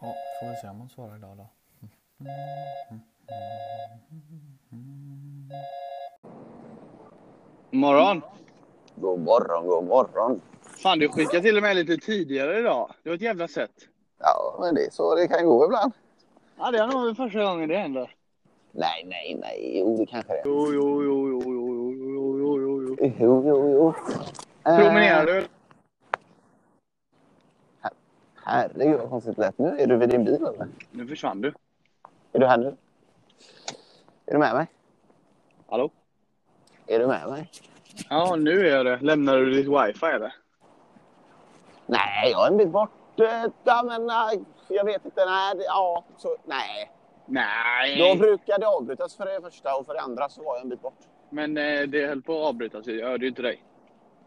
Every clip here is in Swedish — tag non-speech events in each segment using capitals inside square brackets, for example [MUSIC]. Ja, får vi se om hon svarar idag då. Morgon! God morgon, god morgon. Fan, du skickade till och med lite tidigare idag. Det var ett jävla sätt. Ja, men det är så det kan gå ibland. Ja, det är nog första gången det händer. Nej, nej, nej. Jo, det kanske det är. Jo, jo, jo, jo, jo, jo, jo, jo, jo, jo. Jo, jo, jo. Promenerar Eh, du? Herregud, vad konstigt det lät. Nu är du vid din bil, eller? Nu försvann du. Är du här nu? Är du med mig? Hallå? Är du med mig? Ja, nu är jag det. Lämnar du ditt wifi eller? Nej, jag är en bit bort. Eh, Ja, men nej, jag vet inte. Nej, det, ja, så, nej. Nej! Då brukar det avbrytas för det första och för det andra så var jag en bit bort. Men eh, det höll på att avbrytas. Jag hörde ju inte dig.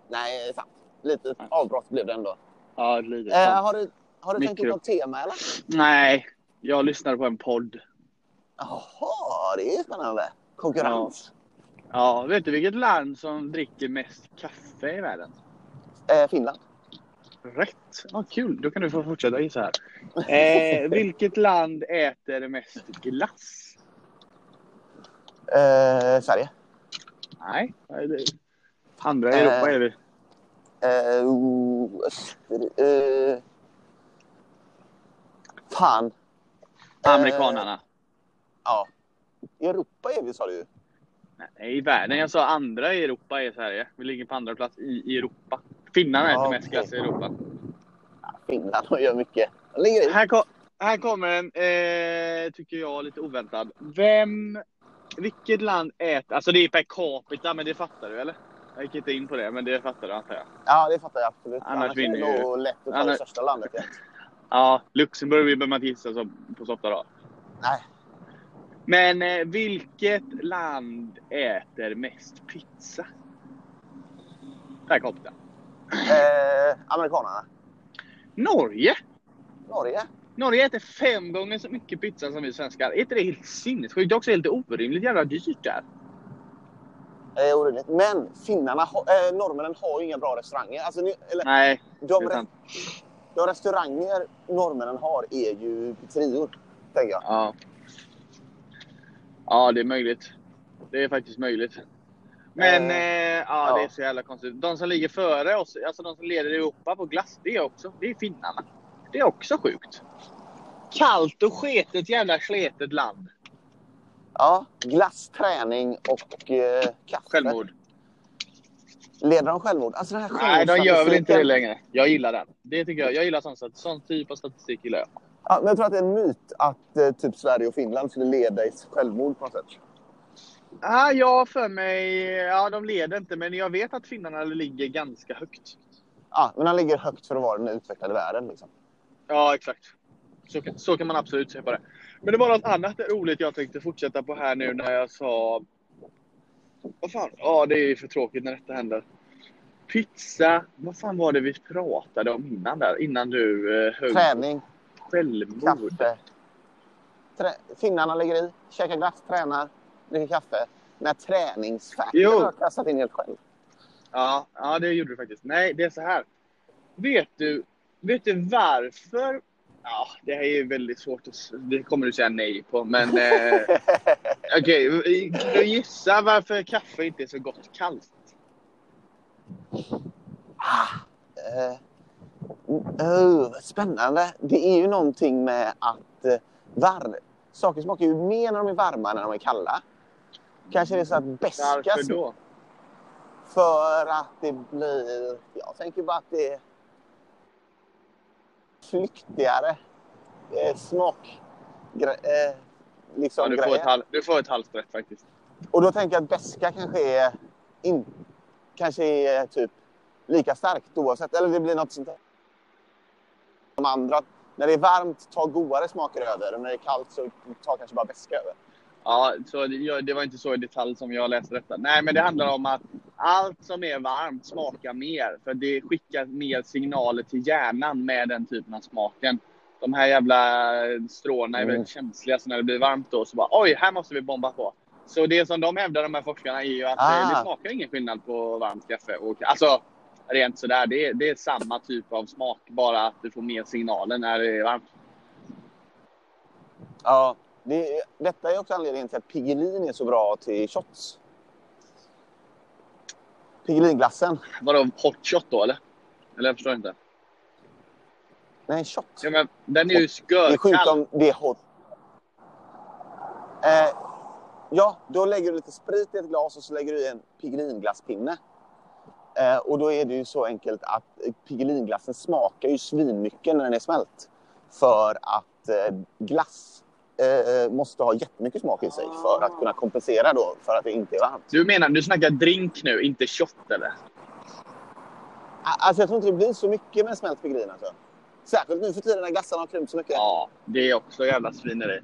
Nej, det är sant. Lite avbrott blev det ändå. Ja, ett litet. Eh, har du, har du tänkt Mikro. ut något tema, eller? Nej, jag lyssnade på en podd. Jaha, det är spännande. Konkurrens. Ja, vet du vilket land som dricker mest kaffe i världen? Eh, Finland. Rätt! Ja, kul, då kan du få fortsätta gissa här. [LAUGHS] Eh, vilket land äter mest glass? Eh, Sverige. Nej, nej, det... andra Europa är vi. Eh, oh, Österrike. Eh, fan. Eh, Amerikanarna. Ja. I Europa är vi, sa du ju. Nej, i världen. Jag sa andra i Europa är Sverige. Vi ligger på andra plats i i Europa. Finnarna äter Ja, mest okej. glass i Europa. Finland och gör mycket. De ligger i. Här, ko- här kommer en, eh, tycker jag, lite oväntad. Vem, vilket land äter, alltså det är per capita, men det fattar du eller? Jag gick inte in på det, men det fattar du antar jag. Ja, det fattar jag absolut. Annars är det vinner ju- nog lätt att ta det Annars- största landet igen. Ja, Luxemburg behöver man inte gissa så, på så ofta då. Nej. Men eh, vilket land äter mest pizza? Per capita. Eh, amerikanerna. Norge! Norge. Norge äter fem gånger så mycket pizza som vi svenskar. Är inte det helt sinnessjukt? Det är också helt orimligt jävla dyrt där. Eh, orimligt. Men finnarna, har- eh, norrmännen har ju inga bra restauranger. Alltså, ni, eller, Nej, de, det är re, sant. de restauranger norrmännen har är ju pizzerior, tänker jag. Ja. Ja, det är möjligt. Det är faktiskt möjligt. Men Eh, eh, ja, ja. det är så jävla konstigt. De som ligger före oss, alltså de som leder Europa på glass, det är också, det är finnarna. Det är också sjukt. Kallt och sketet jävla sletet land. Ja, glass, träning och eh, kaffe. Självmord. Leder de självmord? Alltså den här Nej, de gör väl inte det självmordsstatistiken- längre. Jag gillar den. Det tycker jag. Jag gillar sån, stat- sån typ av statistik. Gillar jag. Ja, men jag tror att det är en myt att eh, typ Sverige och Finland skulle leda i självmord på något sätt. Ah, ja, för mig... Ja, de leder inte, men jag vet att finnarna ligger ganska högt. Ja, men han ligger högt för att vara den utvecklade världen. Liksom. Ja, exakt. Så, kan- så kan man absolut se på det. Men det var något annat roligt jag tänkte fortsätta på här nu när jag sa... Vad fan? Ja, det är ju för tråkigt när detta händer. Pizza. Vad fan var det vi pratade om innan där? Innan du eh, höll Träning, självmord. kaffe. Trä... Finnarna lägger i, käkar glass, tränar, dricker kaffe. När träningsfaktorn Jo. har jag kastat in helt själv. Ja, ja, det gjorde du faktiskt. Nej, det är så här. Vet du, vet du varför? Ja, det här är ju väldigt svårt att... s- Det kommer du säga nej på, men... Eh, Okej, kan du gissa varför kaffe inte är så gott kallt? Eh, oh, spännande. Det är ju någonting med att eh, var... saker smakar ju mer när de är varma än när de är kalla. Kanske det är så att beska Varför då? för att det blir... Jag tänker bara att det är flyktigare eh, smak. Gre- eh, liksom Ja, du, får grejer. ett halv, du får ett halvt rätt faktiskt. Och då tänker jag att beska kanske är, in, kanske är typ lika starkt oavsett. Eller det blir något sånt där. De andra, när det är varmt, tar godare smaker över. Och när det är kallt så tar kanske bara beska över. Ja, så det, jag, det var inte så i detalj som jag läste detta. Nej, men det handlar om att allt som är varmt smakar mer. För det skickar mer signaler till hjärnan med den typen av smaken. De här jävla stråna är Mm. väldigt känsliga, så när det blir varmt då så bara oj, här måste vi bomba på. Så det som de hävdar, de här forskarna, är ju att Ah. ah. det smakar ingen skillnad på varmt kaffe och Alltså, rent sådär. Det är, det är samma typ av smak, bara att du får mer signaler när det är varmt. Ja, det, detta är också anledningen till att Piggelin är så bra till shots. Piggelinglassen. Vadå, hot shot då eller? Eller jag förstår inte. Nej, shot. Ja, men, den är ju Det är sjukt skörkall. om det är hot. Eh, ja, då lägger du lite sprit i ett glas och så lägger du i en Piggelinglasspinne. Eh, och då är det ju så enkelt att eh, Piggelinglassen smakar ju svinmycket när den är smält. För att eh, glass eh, måste ha jättemycket smak i sig för att kunna kompensera då för att det inte är varmt. Du menar, du snackar drink nu, inte shot eller? A- Alltså jag tror inte det blir så mycket med en smält pigelin alltså. Särskilt nu för tiden när glassarna har krympt så mycket. Ja, det är också jävla svineri.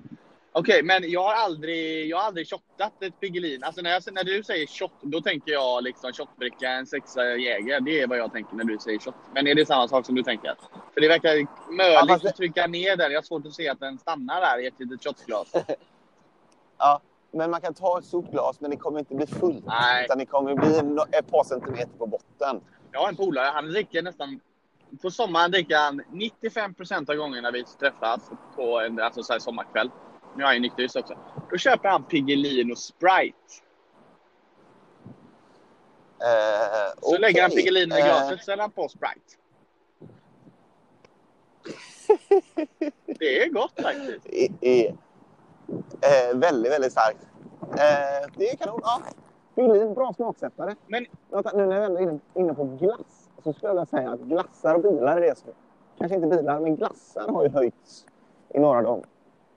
Okej, men jag har aldrig, jag har aldrig shottat ett Piggelin. Alltså när, jag, när du säger shot, då tänker jag liksom shotbricka, en sexa Jäger. Det är vad jag tänker när du säger shot. Men är det samma sak som du tänker? För det verkar Ja, möjligt fast det- att trycka ner den. Jag har svårt att se att den stannar där i ett litet [LAUGHS] shotglas. Men man kan ta ett stort glas men det kommer inte bli fullt. Nej. Utan det kommer bli no- ett par centimeter på botten. Jag har en polare, han dricker nästan... På sommaren dricker han 95 av gångerna vi träffas på en alltså så här sommarkväll. Nu är han ju nykterist också. Då köper han Piggelin och Sprite. Eh, Så lägger han okej. Piggelinen i Eh, glaset så häller han på [LAUGHS] Sprite. Det är gott faktiskt. i- i- eh, väldigt, väldigt starkt. Eh, det är kanon. Ja. Pigelin, bra smaksättare. Men- Vänta, nu när vi ändå är inne, inne på glass så skulle jag vilja säga att glassar och bilar är det som... Kanske inte bilar, men glassar har ju höjts i några av dem.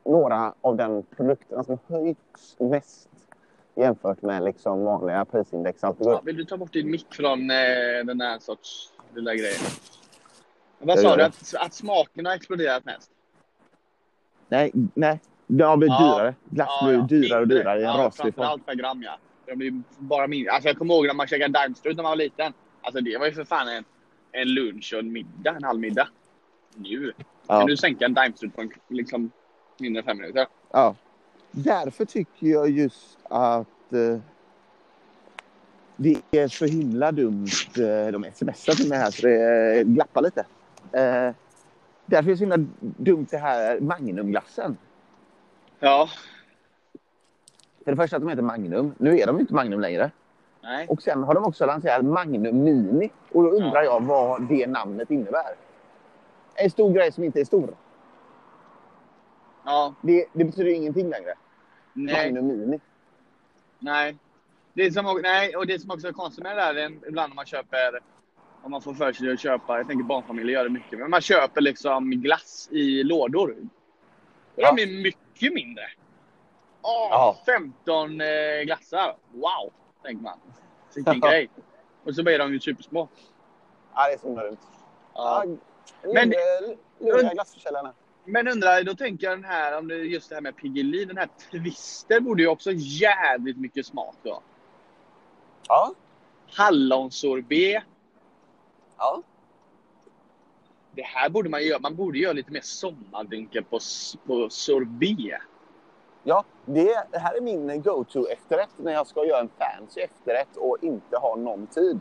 Några av den produkterna som höjts mest jämfört med liksom vanliga prisindex. Allt Ja, går. vill du ta bort din mick från eh, den här sorts lilla grejen? Vad Jag sa gör du? det. Att, att smaken har exploderat mest? Nej, nej. Det har blivit Ja. dyrare. Glass Ja, blir ja. dyrare och Mindre. dyrare i en ja, raslig form. Framförallt per gram, ja. De blir bara mindre. Alltså, jag kommer ihåg när man käkade Daimstrut när man var liten. Alltså, det var ju för fan en, en lunch och en middag, en halvmiddag. Nu Ja. kan du sänka en Daimstrut på en, liksom, mindre än fem minuter. Ja. Därför tycker jag just att eh, det är så himla dumt. Eh, de smsar till mig här så det eh, glappar lite. Eh, därför är det så himla dumt det här Magnumglassen. Ja. För det första att de heter Magnum. Nu är de ju inte Magnum längre. Nej. Och sen har de också lanserat Magnum Mini. Och då undrar Ja. jag vad det namnet innebär. En stor grej som inte är stor. Ja. Det, det betyder ju ingenting längre. Nej. Magnum Mini. Nej. Det är som, o- nej, och det som också är konstigt med det där, det är ibland när man köper, om man får för sig att köpa, jag tänker barnfamiljer gör det mycket, men man köper liksom glass i lådor. Ja. De är mycket mindre. Åh, Ja. 15 eh, glassar. Wow, tänker man. Vilken Ja. grej. Och så blir de ju supersmå. Ja, det är så himla dumt. Ja. Men- Men... Luriga glassförsäljarna. Men undrar, då tänker jag den här, om det är just det här med Piggelin, den här Twister borde ju också jävligt mycket smak då. Ja. Hallonsorbet. Ja. Det här borde man göra. Man borde göra lite mer sommardrinkar på, s- på sorbet. ja det, det här är min go-to-efterrätt när jag ska göra en fancy efterrätt och inte har någon tid.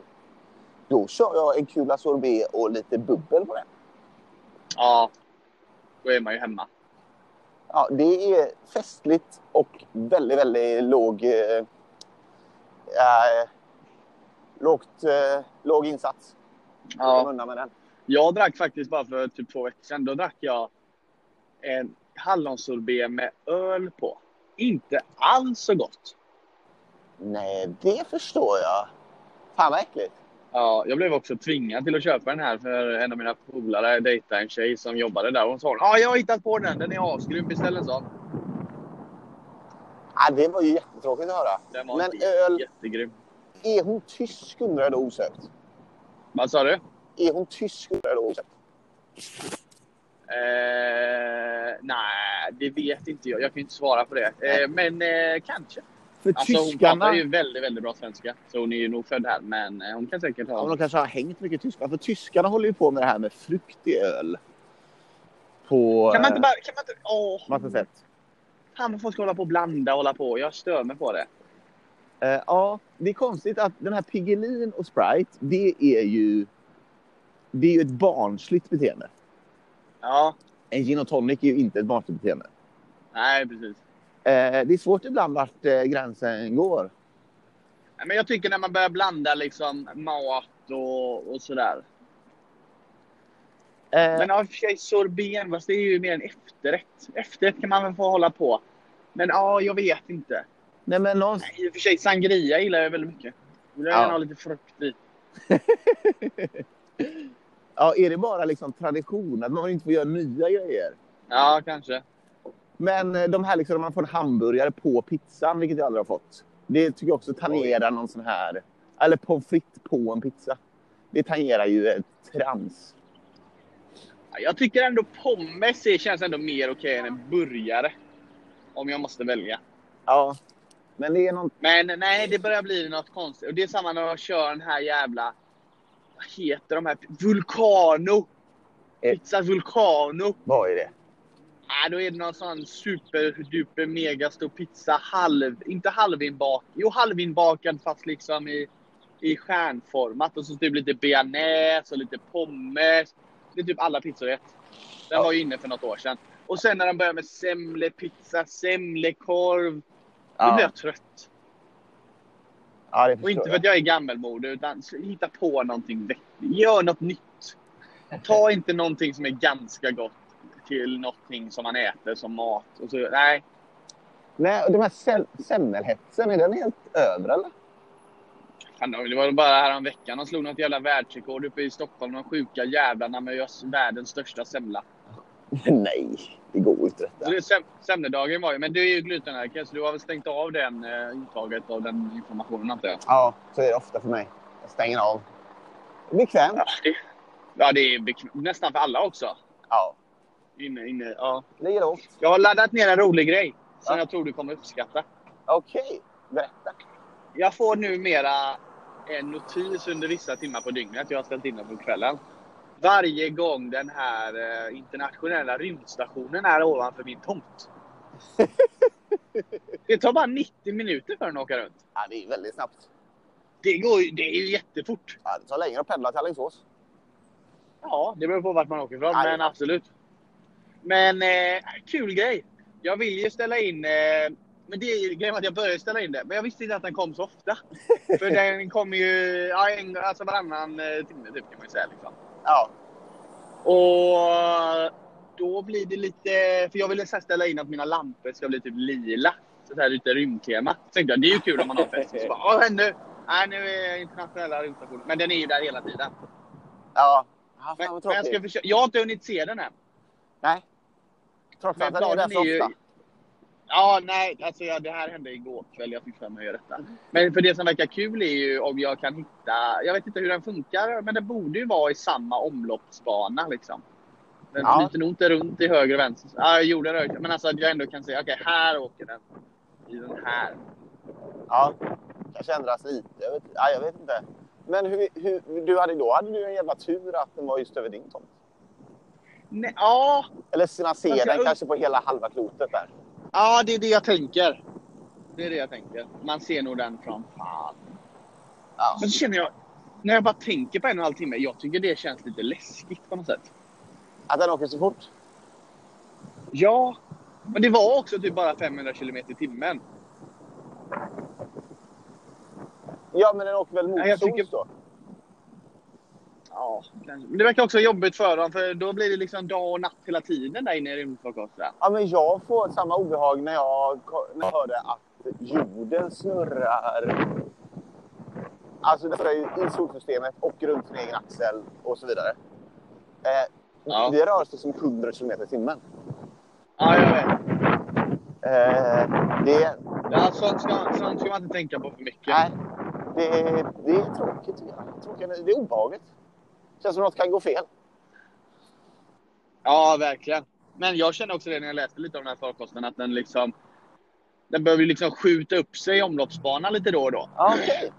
Då kör jag en kula sorbet och lite bubbel på den. Ja, då är man ju hemma. Ja, det är festligt och väldigt, väldigt låg... Eh, eh, lågt, eh, låg insats. Kom Ja. undan med den. Jag drack faktiskt bara för typ två veckor sedan. Då drack jag en hallonsorbet med öl på. Inte alls så gott. Nej, det förstår jag. Fan vad äckligt. Ja, jag blev också tvingad till att köpa den här för en av mina polare dejtade en tjej som jobbade där. Hon sa ja, jag har hittat på den. Den är asgrym. Beställ en sån. Ja, det var ju jättetråkigt att höra. Den var Men inte öl- jättegrym. Är hon tysk undrar jag då osökt. Vad sa du? Är hon tysk undrar jag då osökt. Eh, nej, det vet inte jag. Jag kan ju inte svara på det. Eh, men eh, kanske. För Alltså, hon tyskarna... pratar ju väldigt, väldigt bra svenska. Så hon är ju nog född här. Men eh, hon kan säkert Ja, men ha... de kanske har hängt mycket tyskar. För tyskarna håller ju på med det här med frukt i öl. På Kan man eh, inte bara... Kan man inte... Åh! massa sätt. Fan vad folk ska hålla på och blanda och hålla på. Jag stör mig på det. Eh, ja, det är konstigt att den här Piggelin och Sprite, det är ju... Det är ju ett barnsligt beteende. Ja. En gin och tonic är ju inte ett barnsligt beteende. Nej, precis. Eh, det är svårt ibland vart eh, gränsen går. Nej, Men jag tycker när man börjar blanda liksom mat och, och sådär. Eh, Men ja, i och för sig sorbet, fast det är ju mer en efterrätt. Efterrätt kan man väl få hålla på. Men ja, jag vet inte. nej, men någon, I och för sig, sangria gillar jag väldigt mycket. Vill jag Ja. gärna ha lite frukt i. ja, är det bara liksom tradition att man inte får göra nya grejer? Ja, kanske. Men eh, de här liksom, man får en hamburgare på pizzan, vilket jag aldrig har fått. Det tycker jag också tangerar någon sån här... Eller pommes frites på en pizza. Det tangerar ju eh, trams. Ja, Jag tycker ändå pommes är- känns ändå mer okej än en burgare. Om jag måste välja. Ja. Men det är någon... Men nej, det börjar bli något konstigt. Och det är samma när jag kör den här jävla... Vad heter de här? Vulcano! Eh. Pizza Vulcano! Vad är det? Nej, Ah, då är det någon sån superduper megastor pizza. Halv... Inte halvinbakad. Jo, halvinbakad fast liksom i, i stjärnformat. Och så typ lite bearnaise och lite pommes. Det är typ alla pizzor i ett. Den Ja. var ju inne för något år sedan. Och sen när de börjar med semlepizza, semlekorv. Då blir Ja, jag trött. ja det Och förstår inte för jag. att jag är gammelmodig, utan s- hitta på någonting vettigt. Gör något nytt. Ta inte någonting som är ganska gott till någonting som man äter som mat. Och så, nej, Nej, och de här sem- semmelhetsen, är den helt över eller? [LAUGHS] fan, det var bara häromveckan de slog något jävla världsrekord uppe i Stockholm. De sjuka jävlarna med att göra världens största semla. Nej, det går ju inte Så detta. det, sem- semledagen var ju, men du är ju glutenallergiker så du har väl stängt av den eh, intaget av den informationen antar jag. Ja, så är det ofta för mig. Jag stänger av. Bekvämt. Ja, det, ja, det är bekv- nästan för alla också. Ja, Inne, inne, ja. ligger lågt. Jag har laddat ner en rolig grej som Ja. jag tror du kommer uppskatta. Okej, berätta. Jag får numera en notis under vissa timmar på dygnet. Jag har ställt in den på kvällen. Varje gång den här eh, internationella rymdstationen är ovanför min tomt. Det tar bara 90 minuter för den att åka runt. Ja, det är väldigt snabbt. Det, går, ju- det är ju jättefort. Ja, det tar längre att pendla till Alingsås. Ja, det beror på vart man åker ifrån, Ja, det är men sant. absolut. Men eh, kul grej. Jag vill ju ställa in... Eh, men det är ju grejen var att jag började ställa in det, men jag visste inte att den kom så [LAUGHS] ofta. För den kommer ju ja, en, alltså varannan eh, timme, typ, kan man ju säga. Liksom. Ja, Och då blir det lite... För jag ville så här ställa in att mina lampor ska bli typ lila. Så här lite rymdtema. Så tänkte jag, det är ju kul om man har fest. Så bara, "Ja, men nu, nej, nu är internationella rymdstationen. Men den är ju där hela tiden. ja. ja Men, fan vad men jag, ska tråkigt. försöka, jag har inte hunnit se den än. Nej. Trots Men att den är där planen är ju- så ofta. Ja, nej, alltså ja, det här hände igår kväll. Jag fick för mig att göra detta. Men för det som verkar kul är ju om jag kan hitta... Jag vet inte hur den funkar, men den borde ju vara i samma omloppsbana liksom. Den Ja. flyter nog inte runt till höger och vänster. Ja, jorden rör sig. Men alltså att jag ändå kan säga, okej, här åker den. I den här. Ja, kanske ändras lite. Jag vet, ja, jag vet inte. Men hur, hur, du hade, då hade du en jävla tur att den var just över din tomt. Nej, ja, Eller man ser Jag ska den upp- kanske på hela halva klotet där. ja, det är det jag tänker. Det är det jag tänker. Man ser nog den från fan. Ja. Men så känner jag, när jag bara tänker på en och en halv timme, jag tycker det känns lite läskigt på något sätt. Att den åker så fort. Ja, men det var också typ bara 500 km i timmen. Ja, men den åker väl mot Nej, jag sols tycker- då? Ja, kanske. Men det verkar också jobbigt för dem, för då blir det liksom dag och natt hela tiden där inne i rymdfarkosten. Ja, men jag får samma obehag när jag, ko- när jag hörde att jorden snurrar. Alltså den snurrar ju i solsystemet och runt sin egen axel och så vidare. Eh, Ja. Vi rör oss som 100 kilometer i timmen. Ja, jag vet. Eh, det, Ja, sånt, ska, sånt ska man inte tänka på för mycket. nej, det, det är tråkigt. tycker jag. Tråkigt. Det är obehagligt. Känns som något kan gå fel. Ja, verkligen. Men jag känner också det när jag läste lite om den här farkosten, att den liksom... Den behöver ju liksom skjuta upp sig i omloppsbanan lite då och då. Ja, Okej.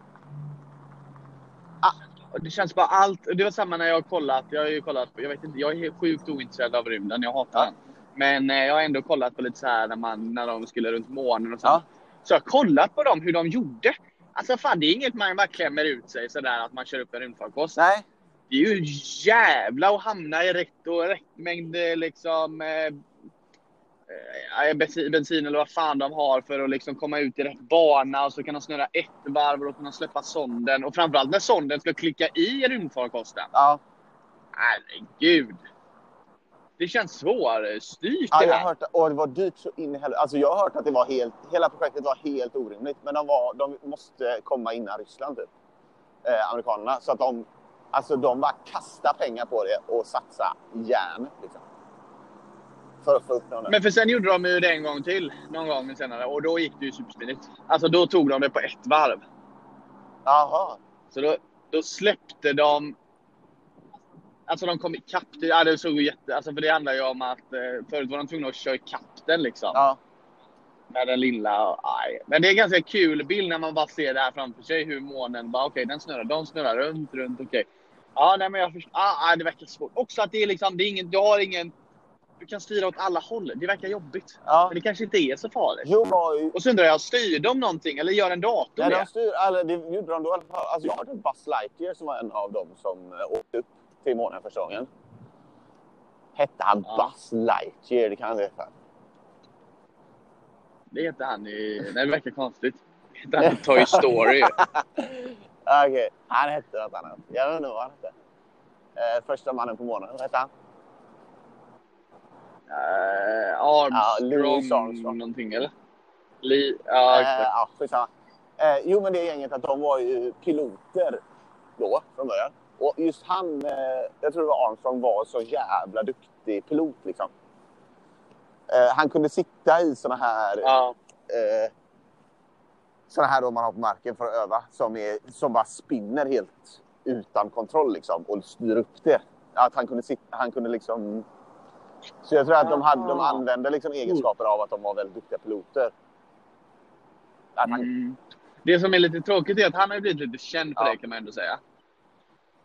Och Det känns bara allt. och Det var samma när jag har kollat. Jag har ju kollat. Jag vet inte. Jag är helt sjukt ointresserad av rymden. Jag hatar den. Men eh, jag har ändå kollat på lite så här när, man, när de skulle runt månen och sånt. Ja. Så jag har kollat på dem hur de gjorde. Alltså fan, det är inget man bara klämmer ut sig sådär att man kör upp en rymdfarkost. Nej. Det är ju jävla att hamna i rätt och rätt mängd eh, liksom eh, eh, bensin, bensin eller vad fan de har för att liksom komma ut i rätt bana och så kan de snurra ett varv och då kan de släppa sonden. Och framförallt när sonden ska klicka i rymdfarkosten. Ja, Herregud! Det känns svårstyrt ja det jag har här. hört och det var dyrt så in i helvete. Alltså jag har hört att det var helt, hela projektet var helt orimligt. Men de, var, de måste komma innan Ryssland typ. Eh, amerikanerna. Så att de, alltså de bara kasta pengar på det och satsa järn. Liksom. För att få upp någon. Men för sen gjorde de ju det en gång till, någon gång senare. Och då gick det ju supersmidigt. Alltså då tog de det på ett varv. Jaha. Så då, då släppte de... Alltså de kom ikapp. det- Ja, det såg ju jätte... Alltså för det handlar ju om att eh, förut var de tvungna att köra ikapp den liksom. Ja. Med den lilla... och- Aj. Men det är en ganska kul bild när man bara ser det här framför sig. Hur månen bara, okej den snurrar, de snurrar runt, runt, okej. Ja, nej men jag förstår. Ah, ah, det verkar svårt. Också att det är liksom, det är ingen, du har ingen... Du kan styra åt alla håll. Det verkar jobbigt. ja. Men det kanske inte är så farligt. Jo, var ju... Och så undrar jag, styr de någonting eller gör en dator Nej, de det? styr, eller det gjorde de då i alla fall. Alltså, jag hörde att Buzz Lightyear som var en av dem som eh, åkte upp till månen första gången. Hette han Ja. Buzz Lightyear? Det kan han heta. Det heter han i... Nej, det verkar konstigt. Det heter [LAUGHS] han i Toy Story. Okej, han hette något annat. Jag vet inte vad han hette. Eh, första mannen på månen, vad hette han? Eh, Ja, Armstrong, Louis Armstrong. någonting eller? Li... Ja, Eh, exakt. ja, skitsamma. Eh, jo, men det gänget att de var ju piloter då från början. Och just han, eh, jag tror det var Armstrong, var så jävla duktig pilot liksom. Eh, han kunde sitta i såna här Ja, eh, såna här då man har på marken för att öva som, är, som bara spinner helt utan kontroll liksom och styr upp det. Att han kunde sitta, han kunde liksom... Så jag tror att de, hade, de använde liksom egenskaper av att de var väldigt duktiga piloter. Att han, mm. Det som är lite tråkigt är att han har ju blivit lite känd för Ja. det kan man ändå säga.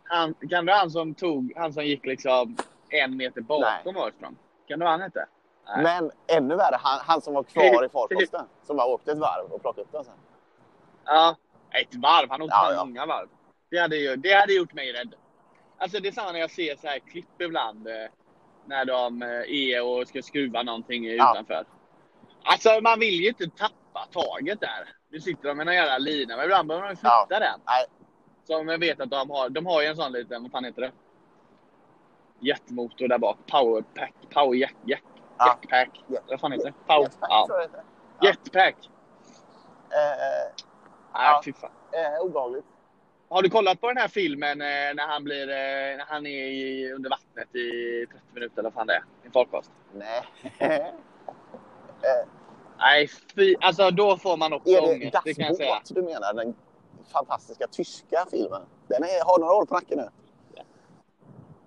Han, kan det vara han som tog, han som gick liksom en meter bakom Armstrong? Kan det vara han hette? nej. Men ännu värre, han, han som var kvar i farkosten som bara åkte ett varv och plockade upp den sen. Ja, ett varv. Han åkte Ja, fan ja. många varv. Det hade, ju, det hade gjort mig rädd. Alltså det är samma när jag ser så här klipp ibland. eh, När de eh, är och ska skruva någonting Ja. utanför. Alltså man vill ju inte tappa taget där. Nu sitter de med någon jävla lina. Men ibland behöver de flytta den. Nej. Som jag vet att de har. De har ju en sån liten, vad fan heter det? Jetmotor där bak. Powerpack. Power jack, jack, Ja. Jetpack. Jet- Vad fan heter det? Power, Jetpack, ja. tror jag det heter. ja. Jetpack. Eh, Nej, Ja. fy fan. eh, obehagligt. Har du kollat på den här filmen eh, när han, blir, eh, när han är i, under vattnet i 30 minuter eller vad fan det är? I en farkost. Nej. [LAUGHS] Nej, fy. Alltså då får man också Är det ångest. Det kan jag Das säga. Boot du menar? Den fantastiska tyska filmen? Den är, har några år på nacken nu.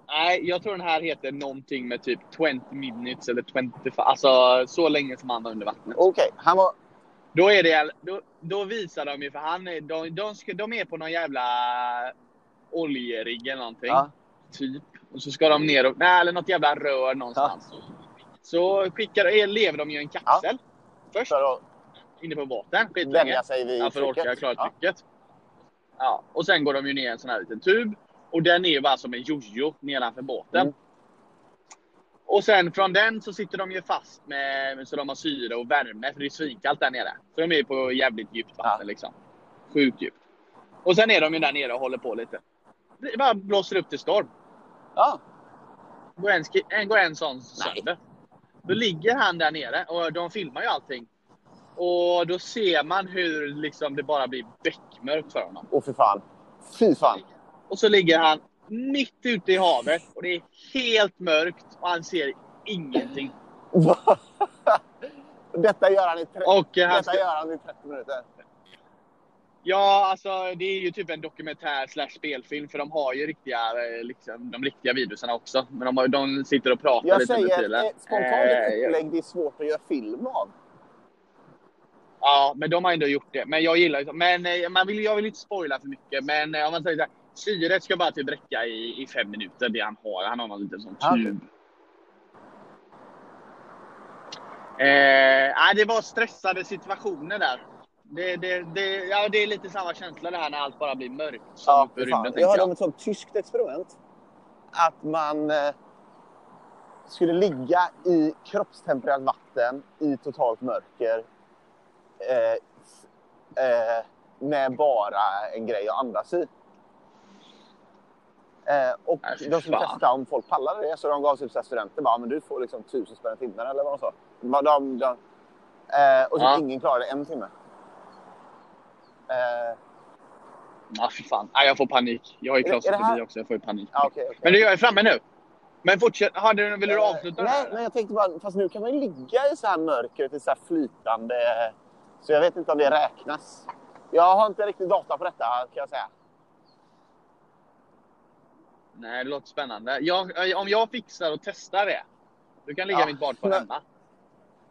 Nej, jag tror den här heter någonting med typ 20 minutes eller 20... fa- Alltså så länge som han var under vattnet. Okej, han var... Då, är det, då, då visar de ju för han är, de, de, ska, de är på någon jävla oljerigg eller någonting. Ja, typ. Och så ska de ner och, nej, eller något jävla rör någonstans. Så skickar, eh, lever de ju i en kapsel. Först för att inne på båten skitlänge. vänja sig vid Ja, för att orka klara Ja. trycket. Ja, och sen går de ju ner i en sån här liten tub. Och den är ju bara som en jojo nedanför båten. Mm. Och sen från den så sitter de ju fast med, så de har syre och värme för det är svinkallt där nere. Så de är ju på jävligt djupt vatten Ja. liksom. Sjukt djupt. Och sen är de ju där nere och håller på lite. Det bara blåser upp till storm Ja. går en, ski- en, går en sån sönder. Då ligger han där nere och de filmar ju allting. Och då ser man hur liksom det bara blir beckmörkt för honom. Åh, fy fan. Fy fan. [LAUGHS] Och så ligger han mitt ute i havet och det är helt mörkt och han ser ingenting. Va? Detta gör han i, tre... Och eh, han Detta ska, gör han i 30 minuter. ja, alltså det är ju typ en dokumentär slash spelfilm för de har ju riktiga, eh, liksom, de riktiga videorna också. Men de, har, de sitter och pratar Jag lite med säger tiden. ett spontant Eh, ja. upplägg det är svårt att göra film av. Ja, men de har ändå gjort det. Men jag gillar ju... Men eh, man vill, jag vill inte spoila för mycket. Men eh, om man säger så här. Syret ska bara typ räcka i, i fem minuter, det han har. Han har någon liten sån Ja. tub. Eh, nej, det var stressade situationer där. Det, det, det, ja, det är lite samma känsla det här när allt bara blir mörkt. Som uppe i fy fan. rymden, tänker Jag hörde jag. om ett sånt tyskt experiment. Att man... eh, skulle ligga i kroppstempererat vatten i totalt mörker eh, s- eh, med bara en grej att andas i. Eh, och Nej, Äh, fy de skulle fan. testa om folk pallade det, så de gav typ så här studenter bara, men du får liksom tusen spänn i timmen eller vad de sa. De, de, de, eh, och så Ja. ingen klarade en timme. Eh, Ah, fy fan. Ah, jag får panik. Jag har ju Är det- är det klaustrofobi här- också. Jag får ju panik. ja, okej, okej. Men du, jag är framme nu. Men fortsätt. Aha, du, vill du Eh, avsluta? Nej, det men jag tänkte bara, fast nu kan man ju ligga i så här mörkret, i så här flytande... Så jag vet inte om det räknas. Jag har inte riktigt data på detta kan jag säga. Nej, det låter spännande. Jag, eh, om jag fixar och testar det. Du kan ligga Ja, i mitt badkar men- hemma.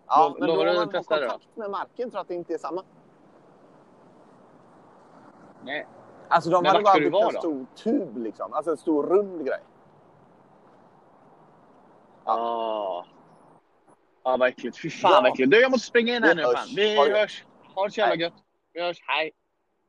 Ja, Lo- men då lovar om du man att har testa det då? kontakt med marken tror jag att det inte är samma. Nej. Alltså de Men hade vart bara ska du byggt vara en då? stor tub liksom. Alltså en stor rund grej. Ja. Ah. Ja, vad äckligt. Fy fan Ja. vad äckligt. Du, jag måste springa in här Vi nu. hörs. Fan. Vi Ha det gött. hörs. Ha det så jävla Hej. gött. Vi hörs. Hej.